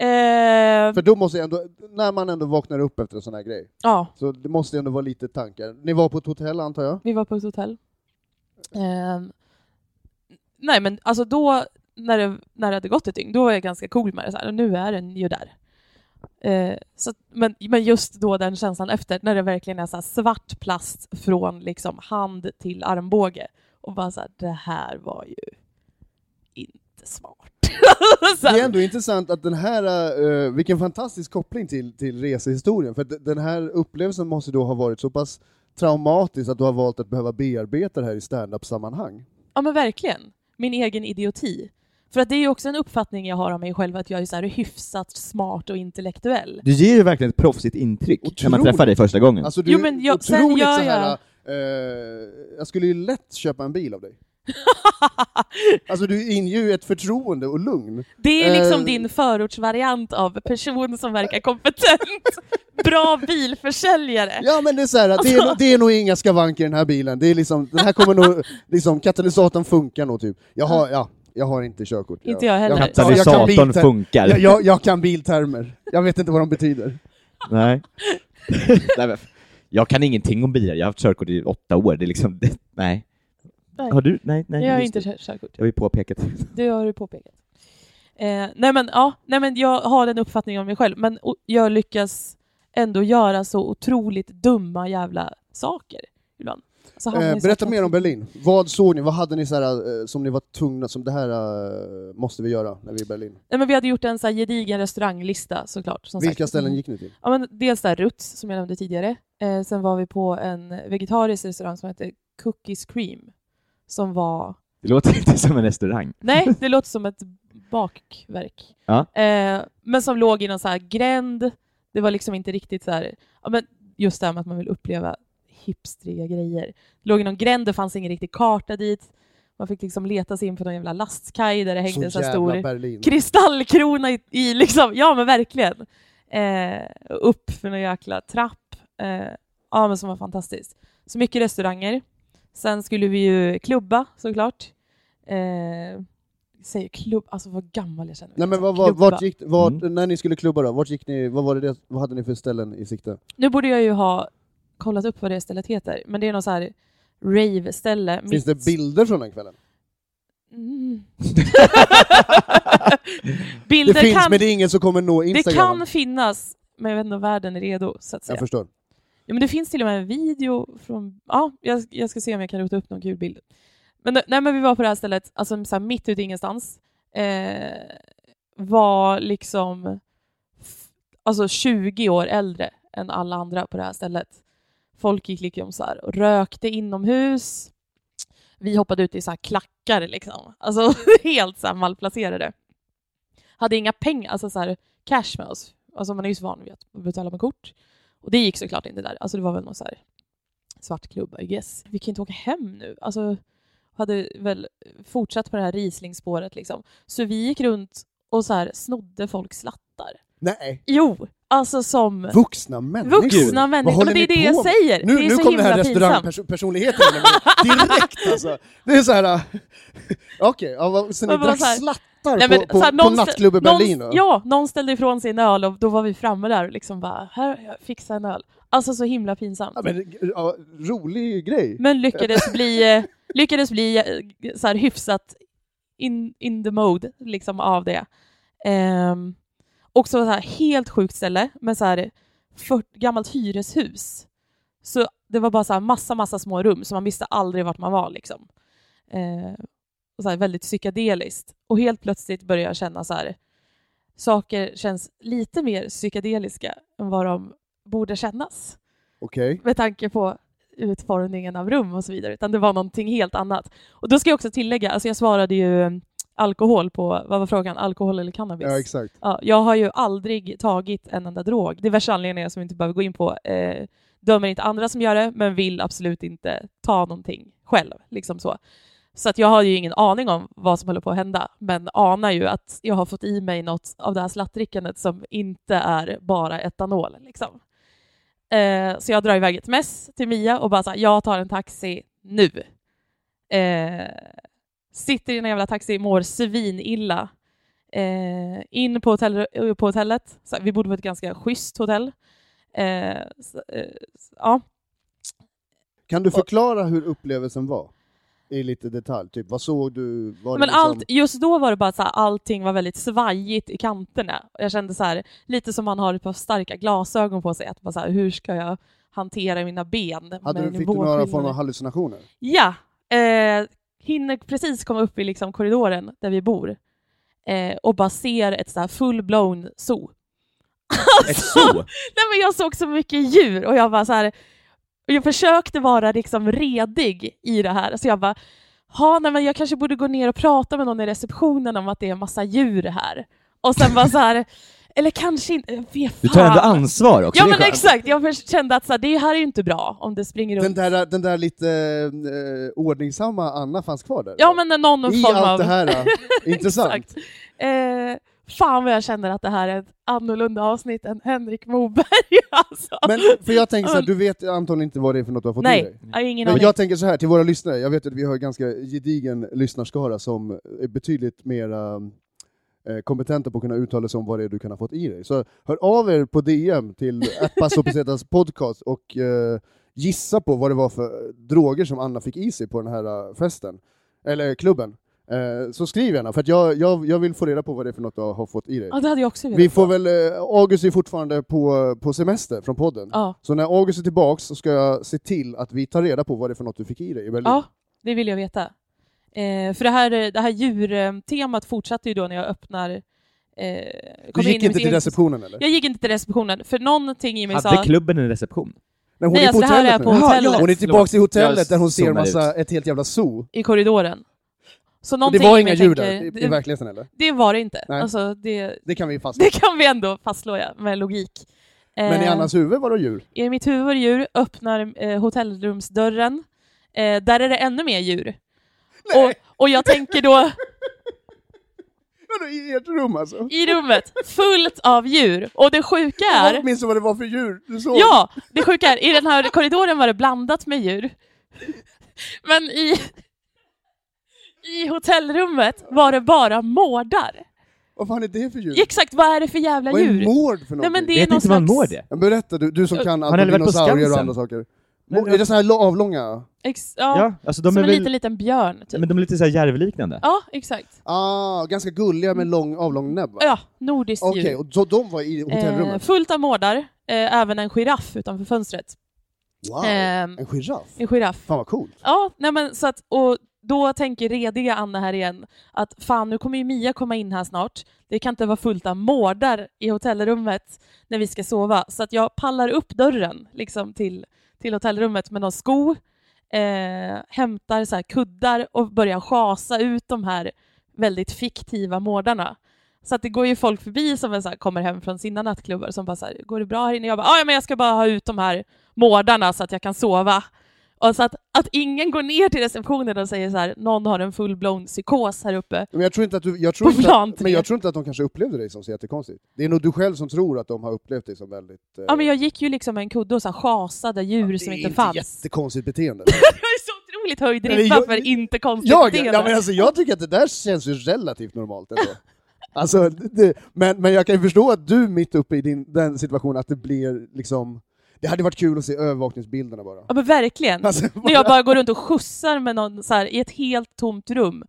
Eh, För då måste jag ändå, när man ändå vaknar upp efter en sån här grej, ja, så det måste ändå vara lite tankar. Ni var på ett hotell antar jag? vi var på ett hotell. Eh, nej, men alltså då när det, när det hade gått ett dygn, då var jag ganska cool med det. Så här, och nu är den ju där. Eh, så, att- men, men just då den känslan efter, när det verkligen är så här svart plast från liksom hand till armbåge och bara så här, det här var ju inte smart. <laughs> så Det är här, ändå intressant att den här, eh, vilken fantastisk koppling till, till resehistorien, för att d- den här upplevelsen måste då ha varit så pass traumatisk att du har valt att behöva bearbeta det här i standup-sammanhang. Ja men verkligen. Min egen idioti. För att det är ju också en uppfattning jag har av mig själv att jag är så här hyfsat smart och intellektuell. Du ger ju verkligen ett proffsigt intryck när man Otroligt. träffar dig första gången. Alltså du Jo, är men jag- sen otroligt gör så här, eh, jag skulle ju lätt köpa en bil av <laughs> dig. Alltså du inger ju ett förtroende och lugn. Det är liksom Eh. din förortsvariant av person som verkar kompetent. <laughs> Bra bilförsäljare. Ja men det är så här, att det, är, nog- det är nog inga skavanker i den här bilen, det är liksom, den här kommer nog, liksom, katalysatorn funkar nog typ. Jag har, ja, jag har inte körkort. Inte jag heller. ja, jag kan Katalysatorn bilter- funkar. Jag, jag, jag kan biltermer, jag vet inte vad de betyder. Nej. <laughs> nej men, jag kan ingenting om bilar, jag har haft körkort i åtta år. Det är liksom, det, nej. Nej. Har du? Nej, nej. Jag har just inte det. kö- körkort. Jag har ju påpekat. Det har du påpekat. Eh, nej, men, ja, nej men jag har en uppfattning om mig själv, men o- jag lyckas ändå göra så otroligt dumma jävla saker ibland. Så hamnar jag i Eh, så här berätta mer om konstiga- Berlin. Vad såg ni? Vad hade ni så här, eh, som ni var tvungna, som det här eh, måste vi göra när vi är i Berlin? Nej, men vi hade gjort en så här gedigen restauranglista såklart. Som Vilka sagt. ställen gick ni till? Ja, men dels där Ruts, som jag nämnde tidigare. Eh, sen var vi på en vegetarisk restaurang som hette Cookies Cream, som var... <laughs> Det låter inte som en restaurang. Nej, det låter som ett bakverk. Ja. Eh, men som låg i någon så här gränd. Det var liksom inte riktigt så här... Ja, men just det här med att man vill uppleva hipstriga grejer. Det låg i någon gränd, det fanns ingen riktig karta dit. Man fick liksom leta sig in på någon jävla lastkaj där det hängde en så här jävla stor Berlin. kristallkrona i, i liksom, ja men verkligen. Eh, upp för någon jäkla trapp. Eh, ja men som var fantastiskt. Så mycket restauranger. Sen skulle vi ju klubba såklart. Eh, säger klubb, alltså vad gammal jag känner mig. Nej, men vad, vad, Klubba. vart gick, vart, Mm. När ni skulle klubba då, vart gick ni, vad, var det, det- vad hade ni för ställen i sikte? Nu borde jag ju ha kollat upp vad det stället heter, men det är något så här rave-ställe. Finns det mitt- bilder från den kvällen? Mm. <laughs> Det Bilder finns, kan, men det är ingen som kommer nå det Instagram. kan finnas, men jag vet inte om världen är redo så att säga. Jag förstår. Ja, men det finns till och med en video från... Ja, jag, jag ska se om jag kan rota upp någon kul bild. Men, nej, men vi var på det här stället, alltså så här, mitt ute i ingenstans. Eh, var liksom f- alltså 20 år äldre än alla andra på det här stället. Folk gick liksom så här och rökte inomhus. Vi hoppade ut i så här klackar liksom. Alltså <laughs> helt så här malplacerade. Hade inga pengar, alltså så här cash med oss. Alltså man är ju så van vid att betala med kort. Och det gick såklart inte där. Alltså det var väl någon så här svart klubb, I guess. Vi kan ju inte åka hem nu. Alltså hade väl fortsatt på det här rislingspåret liksom. Så vi gick runt och så här snodde folks slattar. Nej, Jo, alltså som vuxna människor! vuxna Vad människor. håller Men det är ni det jag på med? säger. Nu, det nu är så kom den himla här pinsamt. restaurangpersonligheten in i <laughs> mig direkt alltså! Det är så här. äh, Okej, ja, vad- så ni Men bara drack så här- slattar Nej, men på, på, så här, på någon stä- nattklubb i Berlin? någon, då? Ja, någon ställde ifrån sig en öl och då var vi framme där och liksom bara, här, jag fixar en öl. Alltså så himla pinsamt. Ja, men, ja, rolig grej. Men lyckades bli, eh, lyckades bli eh, så här hyfsat in, in the mode liksom, av det. Ehm, också så här helt sjukt ställe med så här för, gammalt hyreshus. Så det var bara så här massa, massa små rum så man visste aldrig vart man var. Liksom. Ehm, och så här väldigt psykedeliskt. Och helt plötsligt började jag känna så här saker känns lite mer psykedeliska än vad de borde kännas Okej. med tanke på utformningen av rum och så vidare, utan det var någonting helt annat. Och då ska jag också tillägga, alltså jag svarade ju eh, alkohol på, vad var frågan, alkohol eller cannabis? Ja, exakt. Ja, jag har ju aldrig tagit en enda drog. Diverse anledningar som vi inte behöver gå in på. Eh, dömer inte andra som gör det, men vill absolut inte ta någonting själv. Liksom så. så att jag har ju ingen aning om vad som håller på att hända, men anar ju att jag har fått i mig något av det här slattdrickandet som inte är bara etanol. Liksom. Eh, så jag drar iväg ett mess till Mia och bara så här, jag tar en taxi nu. Eh, sitter i en jävla taxi, mår svinilla eh, in på, hotell, eh, på hotellet. Så här, vi bodde på ett ganska schysst hotell. Eh, så, eh, så, ja. Kan du förklara hur upplevelsen var? I lite detalj, typ vad såg du? Var det Men liksom- allt, just då var det bara så här, allting var väldigt svajigt i kanterna. Och Jag kände så här, lite som man har ett par starka glasögon på sig, att bara så här, hur ska jag hantera mina ben? hade med du, fick du några form nivåskillnader? av hallucinationer? Ja, eh, hinner precis komma upp i liksom korridoren där vi bor eh, och bara ser ett så här full-blown zoo. Ett zoo? Nej, men jag såg så mycket djur och jag bara så här, och jag försökte vara liksom redig i det här, så jag bara, ha, nej, men jag kanske borde gå ner och prata med någon i receptionen om att det är en massa djur här. Och sen bara så här, <laughs> eller kanske inte, eh, fy Du tar ändå fan. ansvar också, Ja det är men skönt. exakt, jag förs- kände att så här, det här är ju inte bra om det springer runt. Den där, den där lite eh, ordningsamma Anna fanns kvar där? Ja men någon I form allt av... det här, <laughs> eh, intressant. Exakt. Eh, fan vad jag känner att det här är ett annorlunda avsnitt än Henrik Moberg. <laughs> Alltså. Men för jag tänker så här, Men- du vet antagligen inte vad det är för något du har fått i Nej, dig? jag har ingen Men aning. jag tänker så här till våra lyssnare, jag vet att vi har en ganska gedigen lyssnarskara som är betydligt mer eh, kompetenta på att kunna uttala sig om vad det är du kan ha fått i dig. Så hör av er på DM <laughs> till Appasopisetas podcast och eh, gissa på vad det var för droger som Anna fick i sig på den här eh, festen, eller klubben. Eh, så skriv gärna, för att jag, jag, jag vill få reda på vad det är för något du har fått i dig. Ja, det hade jag också velat. Vi får väl, eh, August är fortfarande på, på semester från podden. Ja, Så när August är tillbaks så ska jag se till att vi tar reda på vad det är för något du fick i dig i Berlin. ja det vill jag veta. Eh, för det här, det här djurtemat fortsatte ju då när jag öppnar... Eh, kom du gick in i mitt inte till eget- receptionen eller? Jag gick inte till receptionen, för någonting i mig Hade sa... klubben en reception? Nej, hon Nej, är alltså, på det här hotellet nu. är på hotellet. Hon är tillbaks i hotellet Jag där hon ser zoomar massa, ett helt jävla zoo. i korridoren. Så Och det någonting var i inga mig djur där tänker, i, i det, verkligheten eller? det var det inte. Nej. Alltså, det, Det kan vi fastslå. det kan vi ändå fastslå ja, med logik. Men i Eh, Annas huvud var det djur. I mitt huvud var det djur, öppnar eh, hotellrumsdörren. Eh, där är det ännu mer djur. Och, och jag tänker då, Vadå, I ert rum alltså? i rummet, fullt av djur. Och det sjuka Jag är... minns vad det var för djur du såg. Ja, det sjuka är, i den här korridoren var det blandat med djur. Men i, i hotellrummet var det bara mårdar. Vad fan är det för djur? Exakt, vad är det för jävla vad är djur? mård för Nej, någonting? men det är Jag vet någon inte vad man slags- mår det. Men Berätta du, du som kan Har allt ni om aldrig varit på dinosaurier och Skansen? andra saker. Nej, Är det såna här lo- avlånga? Ex, ja, Ja, alltså de som är en väl... liten, liten björn. Typ. Men de är lite så här järvliknande. Ja, exakt. Ah, ganska gulliga med lång avlång näbb va? Ja, nordiskt Okej, djur. och så de var i hotellrummet? Eh, fullt av mårdar, eh, även en giraff utanför fönstret. wow! ehm, Ah, en giraff? En giraff. Fan vad coolt! Ja, nej men så att, och då tänker rediga Anna här igen att fan, nu kommer ju Mia komma in här snart. Det kan inte vara fullt av mårdar i hotellrummet när vi ska sova. Så att jag pallar upp dörren liksom, till, till hotellrummet med någon sko, eh, hämtar så här kuddar och börjar schasa ut de här väldigt fiktiva mårdarna. Så att det går ju folk förbi som är så här, kommer hem från sina nattklubbar som bara så här, går det bra här inne? Jag bara, "Ah, ja men jag ska bara ha ut de här mårdarna så att jag kan sova. Och så att, att ingen går ner till receptionen och säger så här, någon har en full-blown psykos här uppe. Men jag tror inte att du... Jag tror På inte plan att, tre. men jag tror inte att de kanske upplevde dig som så jättekonstigt. Det är nog du själv som tror att de har upplevt dig som väldigt... eh, Ja men jag gick ju liksom med en kudde och så här schasade djur som inte Det är inte fanns. <laughs> jättekonstigt beteende. Jag är så otroligt höjd Eller ribba jag- för inte konstigt jag, beteende. ja, men alltså, jag tycker att det där känns ju relativt normalt <laughs> ändå. Alltså, det, men, men jag kan ju förstå att du mitt uppe i din, den situationen, att det blir liksom... Det hade varit kul att se övervakningsbilderna bara. Ja men verkligen. Alltså, <laughs> När jag bara går runt och skjutsar med någon så här, i ett helt tomt rum.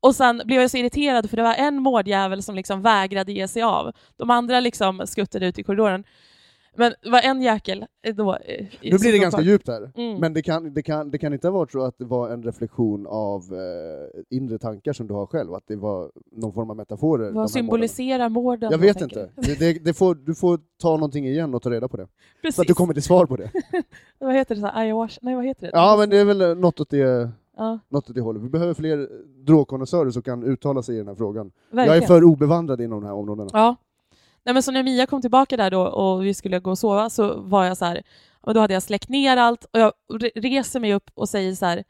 Och sen blev jag så irriterad för det var en mårdjävel som liksom vägrade ge sig av. De andra liksom skuttade ut i korridoren. Men det var en jäkel eh, då... eh, i- nu blir det som ganska var- djupt här, Mm. men det kan, det, kan, det kan inte ha varit så att det var en reflektion av eh, inre tankar som du har själv, att det var någon form av metaforer? de här målen. Vad symboliserar morden? Jag då, vet tänker inte. Det, det, det får, du får ta någonting igen och ta reda på det, så Precis. att du kommer till svar på det. Vad heter det? Så här, ayahuasca? Nej, vad heter det? Ja, men det är väl eh, något åt det, Ja, något åt det hållet. Vi behöver fler eh, drogkonnässörer som kan uttala sig i den här frågan. verkligen. Jag är för obevandrad inom de här områdena. Ja. Nej, men så när Mia kom tillbaka där då och vi skulle gå och sova så var jag så här, och då hade jag släckt ner allt och jag re- reser mig upp och säger så här,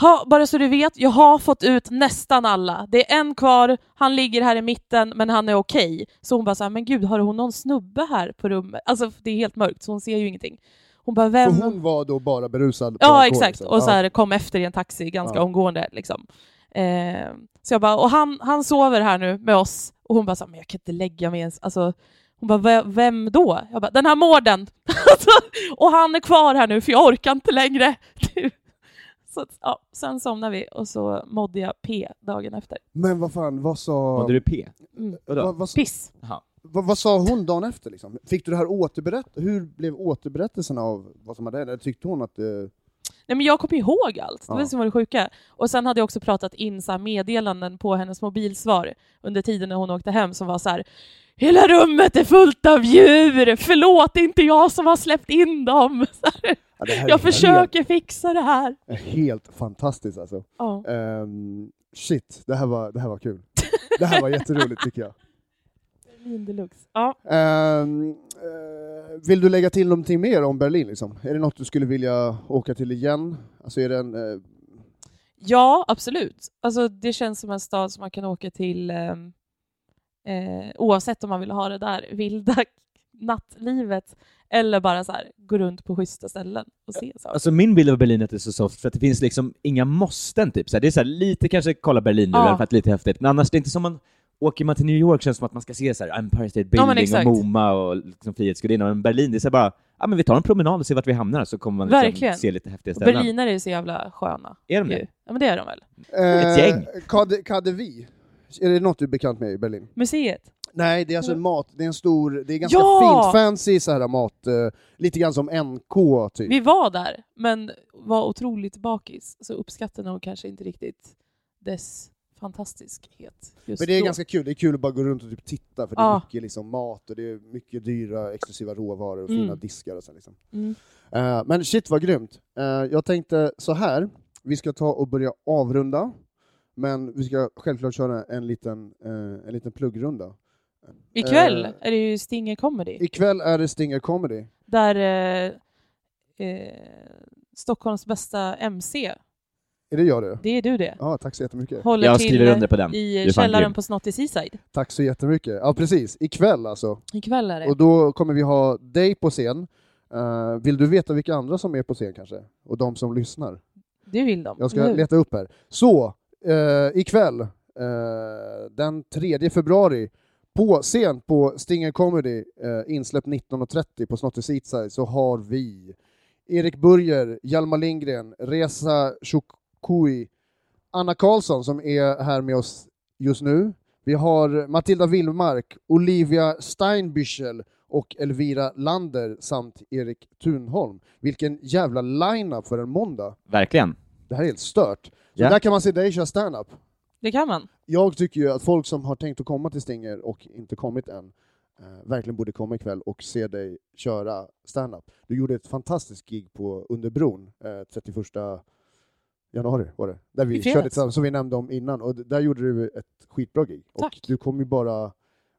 ha, bara så du vet, jag har fått ut nästan alla. Det är en kvar, han ligger här i mitten men han är okej. Så hon bara så här, men gud har hon någon snubbe här på rummet? Alltså det är helt mörkt så hon ser ju ingenting. Hon bara, vem? Och hon var då bara berusad? på Ja, alkohol, exakt. liksom. Och så här, kom efter i en taxi ganska Ja. omgående. Liksom. Eh, så jag bara, och han, han sover här nu med oss. Och hon bara, så här, men jag kan inte lägga mig ens. Alltså, hon bara, "Ve- vem då? Jag bara, den här mården. <laughs> Alltså, och han är kvar här nu för jag orkar inte längre. <laughs> så att, ja, sen somnade vi och så mådde jag P dagen efter. Men vad fan, vad sa... Mådde du P? Mm. Vadå? Vad, vad, Piss. Vad, vad sa hon dagen efter? Liksom? Fick du det här återberätt... Hur blev återberättelsen av vad som hade hänt? Eller Tyckte hon att... Eh... Nej, men jag kom ihåg allt, det var Ja. det som var det sjuka. Och sen hade jag också pratat in så här meddelanden på hennes mobilsvar under tiden när hon åkte hem som var så här Hela rummet är fullt av djur! Förlåt, det är inte jag som har släppt in dem! Så här, Ja, det här är jag försöker fixa det här! Helt, helt fantastiskt alltså. Ja. Ehm, shit, det här, var, det här var kul. Det här var jätteroligt tycker jag. min deluxe. Ja. Ehm, eh, vill du lägga till någonting mer om Berlin? Liksom? Är det något du skulle vilja åka till igen? Alltså är det en... Eh... ja, absolut. Alltså, det känns som en stad som man kan åka till ehm, eh, oavsett om man vill ha det där vilda <laughs> nattlivet eller bara så här, gå runt på schyssta ställen och se saker. Alltså min bild av Berlin är att det är så soft för att det finns liksom inga måsten typ. Så här, det är så här, lite kanske kolla Berlinmuren Ja. för att lite häftigt, men annars det är inte som man Åker man till New York känns det som att man ska se så här Empire State men Building exakt. och MoMA och liksom Frihetsgudinnan, men Berlin det är så här bara, ah, men vi tar en promenad och ser vart vi hamnar, så kommer man liksom Verkligen. se lite häftiga ställen. Berlinare är ju så jävla sköna. Är de ju. det? Ja men det är de väl? Ett gäng. eh, Kade, Kadevi. Är det något du är bekant med i Berlin? Museet? Nej, det är alltså en mat, det är en stor, det är ganska Mm. Ja! fint fancy så här mat, eh, lite grann som NK typ. Vi var där, men var otroligt bakis, så uppskattade nog kanske inte riktigt dess fantastiskhet just Men det är då. ganska kul, det är kul att bara gå runt och typ titta för det är Ja. mycket liksom mat och det är mycket dyra exklusiva råvaror och Mm. fina diskar och så här, liksom. Mm. Eh, men shit vad grymt. Eh, jag tänkte så här, vi ska ta och börja avrunda, men vi ska självklart köra en liten, eh, en liten pluggrunda. Ikväll Eh. är det ju Stinger Comedy, Ikväll är det Stinger Comedy. där eh, eh, Stockholms bästa MC, Är det jag det? det är du det, Ja, tack så jättemycket. håller Jag till skriver under på den. Du i är fan källaren grym. på Snott i Seaside. Tack så jättemycket. Ja, precis. Ikväll alltså. Ikväll är det. Och då kommer vi ha dig på scen. Eh, vill du veta vilka andra som är på scen kanske? Och de som lyssnar? Det vill de. Jag ska eller hur? leta upp här. Så, eh, ikväll, eh, den 3 februari, på scen på Stinger Comedy, eh, insläpp 19.30 på Snotty Seatside, så har vi Erik Burger, Hjalmar Lindgren, Reza Shukui, Anna Karlsson som är här med oss just nu. Vi har Matilda Willmark, Olivia Steinbüchel och Elvira Lander samt Erik Thunholm. Vilken jävla line-up för en måndag! Verkligen. Det här är helt stört. Så Ja. där kan man se dig köra stand-up. Det kan man. <laughs> Jag tycker ju att folk som har tänkt att komma till Stinger och inte kommit än, eh, verkligen borde komma ikväll och se dig köra stand-up. Du gjorde ett fantastiskt gig på Underbron eh, 31 januari var det, där I vi fredags. körde tillsammans, som vi nämnde om innan, och d- där gjorde du ett skitbra gig. Tack. Och du kommer ju bara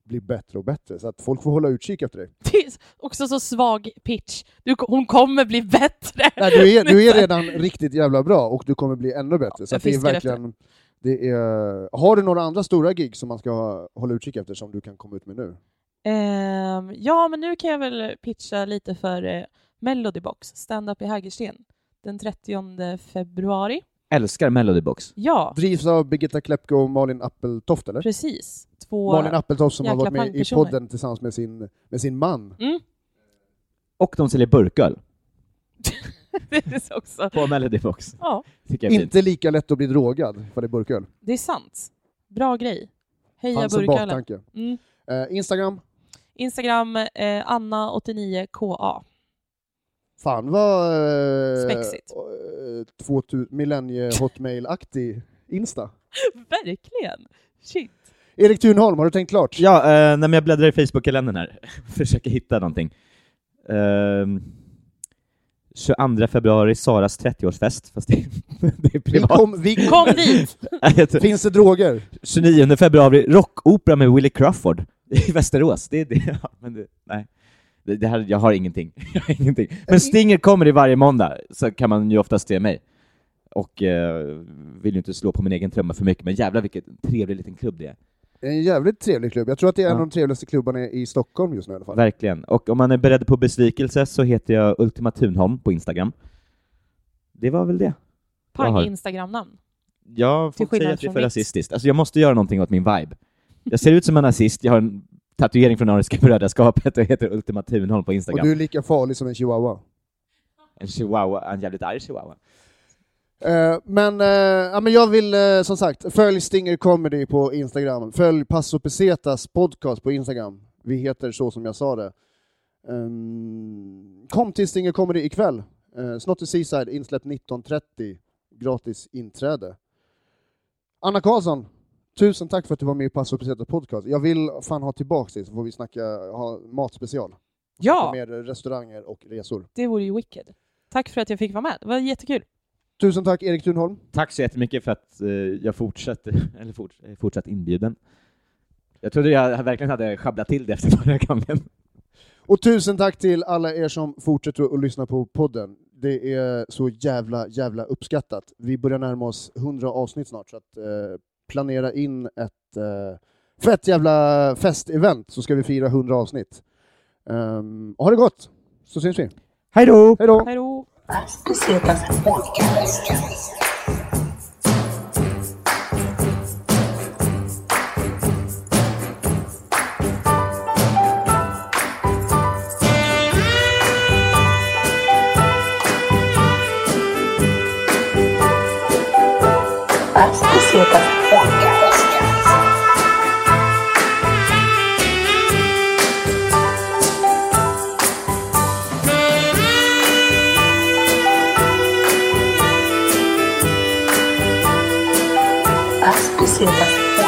bli bättre och bättre, så att folk får hålla utkik efter dig. Det är också så svag pitch. Du, hon kommer bli bättre. Nej, du, är, du är redan riktigt jävla bra och du kommer bli ännu bättre. Så jag att det är fiskar verkligen, det är, har du några andra stora gig som man ska ha- hålla utkik efter som du kan komma ut med nu? Ehm, ja, men nu kan jag väl pitcha lite för eh, Melodybox, stand-up i Hägersten, den 30 februari. Älskar Melodybox. Ja, Drivs av Birgitta Klepko och Malin Appeltoft, eller? precis. Två... Malin Appeltoft som har Jäkla varit med i pangpersoner. podden tillsammans med sin, med sin man. Mm, Och de säljer burköl det är så <laughs> också. på Melodybox. Ja, Tycker jag är fint. Inte lika lätt att bli drogad, för det är burköl. det är sant. Bra grej. Heja Fanns en burkölen. baktanke. Mm. Eh, Instagram? Instagram, eh, Anna89KA. Fan vad... Eh, Spexigt. Eh, 2000 millennie-hotmail-aktig Insta. Verkligen! Shit. Erik Thunholm, har du tänkt klart? Ja, eh, nej, men jag bläddrar i Facebook-kalendern här. <laughs> Försöker hitta någonting. Ehm, 22 februari, Saras 30-årsfest. Fast det, <laughs> det är Vi privat. kom, <laughs> vi Kom <laughs> dit! Finns det droger? 29 februari, rockopera med Willie Crawford <laughs> i Västerås. Det är det. <laughs> Ja, men det nej. Det, det här, jag har ingenting. <laughs> Jag har ingenting. Men Stinger kommer i varje måndag, så kan man ju oftast se mig. Och eh, vill ju inte slå på min egen trumma för mycket, men jävlar vilken trevlig liten klubb det är. Det är en jävligt trevlig klubb. Jag tror att det är en Ja. av de trevligaste klubbarna i Stockholm just nu i alla fall. Verkligen. Och om man är beredd på besvikelse så heter jag Ultima Thunholm på Instagram. Det var väl det. Jag Pang har- Instagram-namn. Jag får Till säga skillnad att det är från för mitt. rasistiskt. Alltså jag måste göra någonting åt min vibe. Jag ser ut som en nazist, jag har en tatuering från Ariska <laughs> brödraskapet och heter Ultima Thunholm på Och Instagram. du är lika farlig som en chihuahua. En chihuahua, en jävligt arg chihuahua. Eh, men, eh, ja, men jag vill eh, som sagt, följ Stinger Comedy på Instagram. Följ Passo Pesetas podcast på Instagram. Vi heter så som jag sa det. Ehm, kom till Stinger Comedy ikväll. Uh, Snotty Seaside, insläpp 19.30. Gratis inträde. Anna Karlsson, tusen tack för att du var med i Passo Pesetas podcast. Jag vill fan ha tillbaka dig så får vi snacka, ha matspecial. Ja! Mer restauranger och resor. Det vore ju wicked. Tack för att jag fick vara med. Det var jättekul. Tusen tack Erik Thunholm. Tack så jättemycket för att eh, jag fortsätter, <laughs> eller fort, är fortsatt inbjuden. Jag trodde jag verkligen hade sjabblat till det efter förra gången. Och tusen tack till alla er som fortsätter att lyssna på podden. Det är så jävla, jävla uppskattat. Vi börjar närma oss 100 avsnitt snart, så att eh, planera in ett eh, fett jävla festevent så ska vi fira 100 avsnitt. Ehm, ha det gott, så syns vi. Hej då! Hej då! Hej då! Thank you. As pesetas.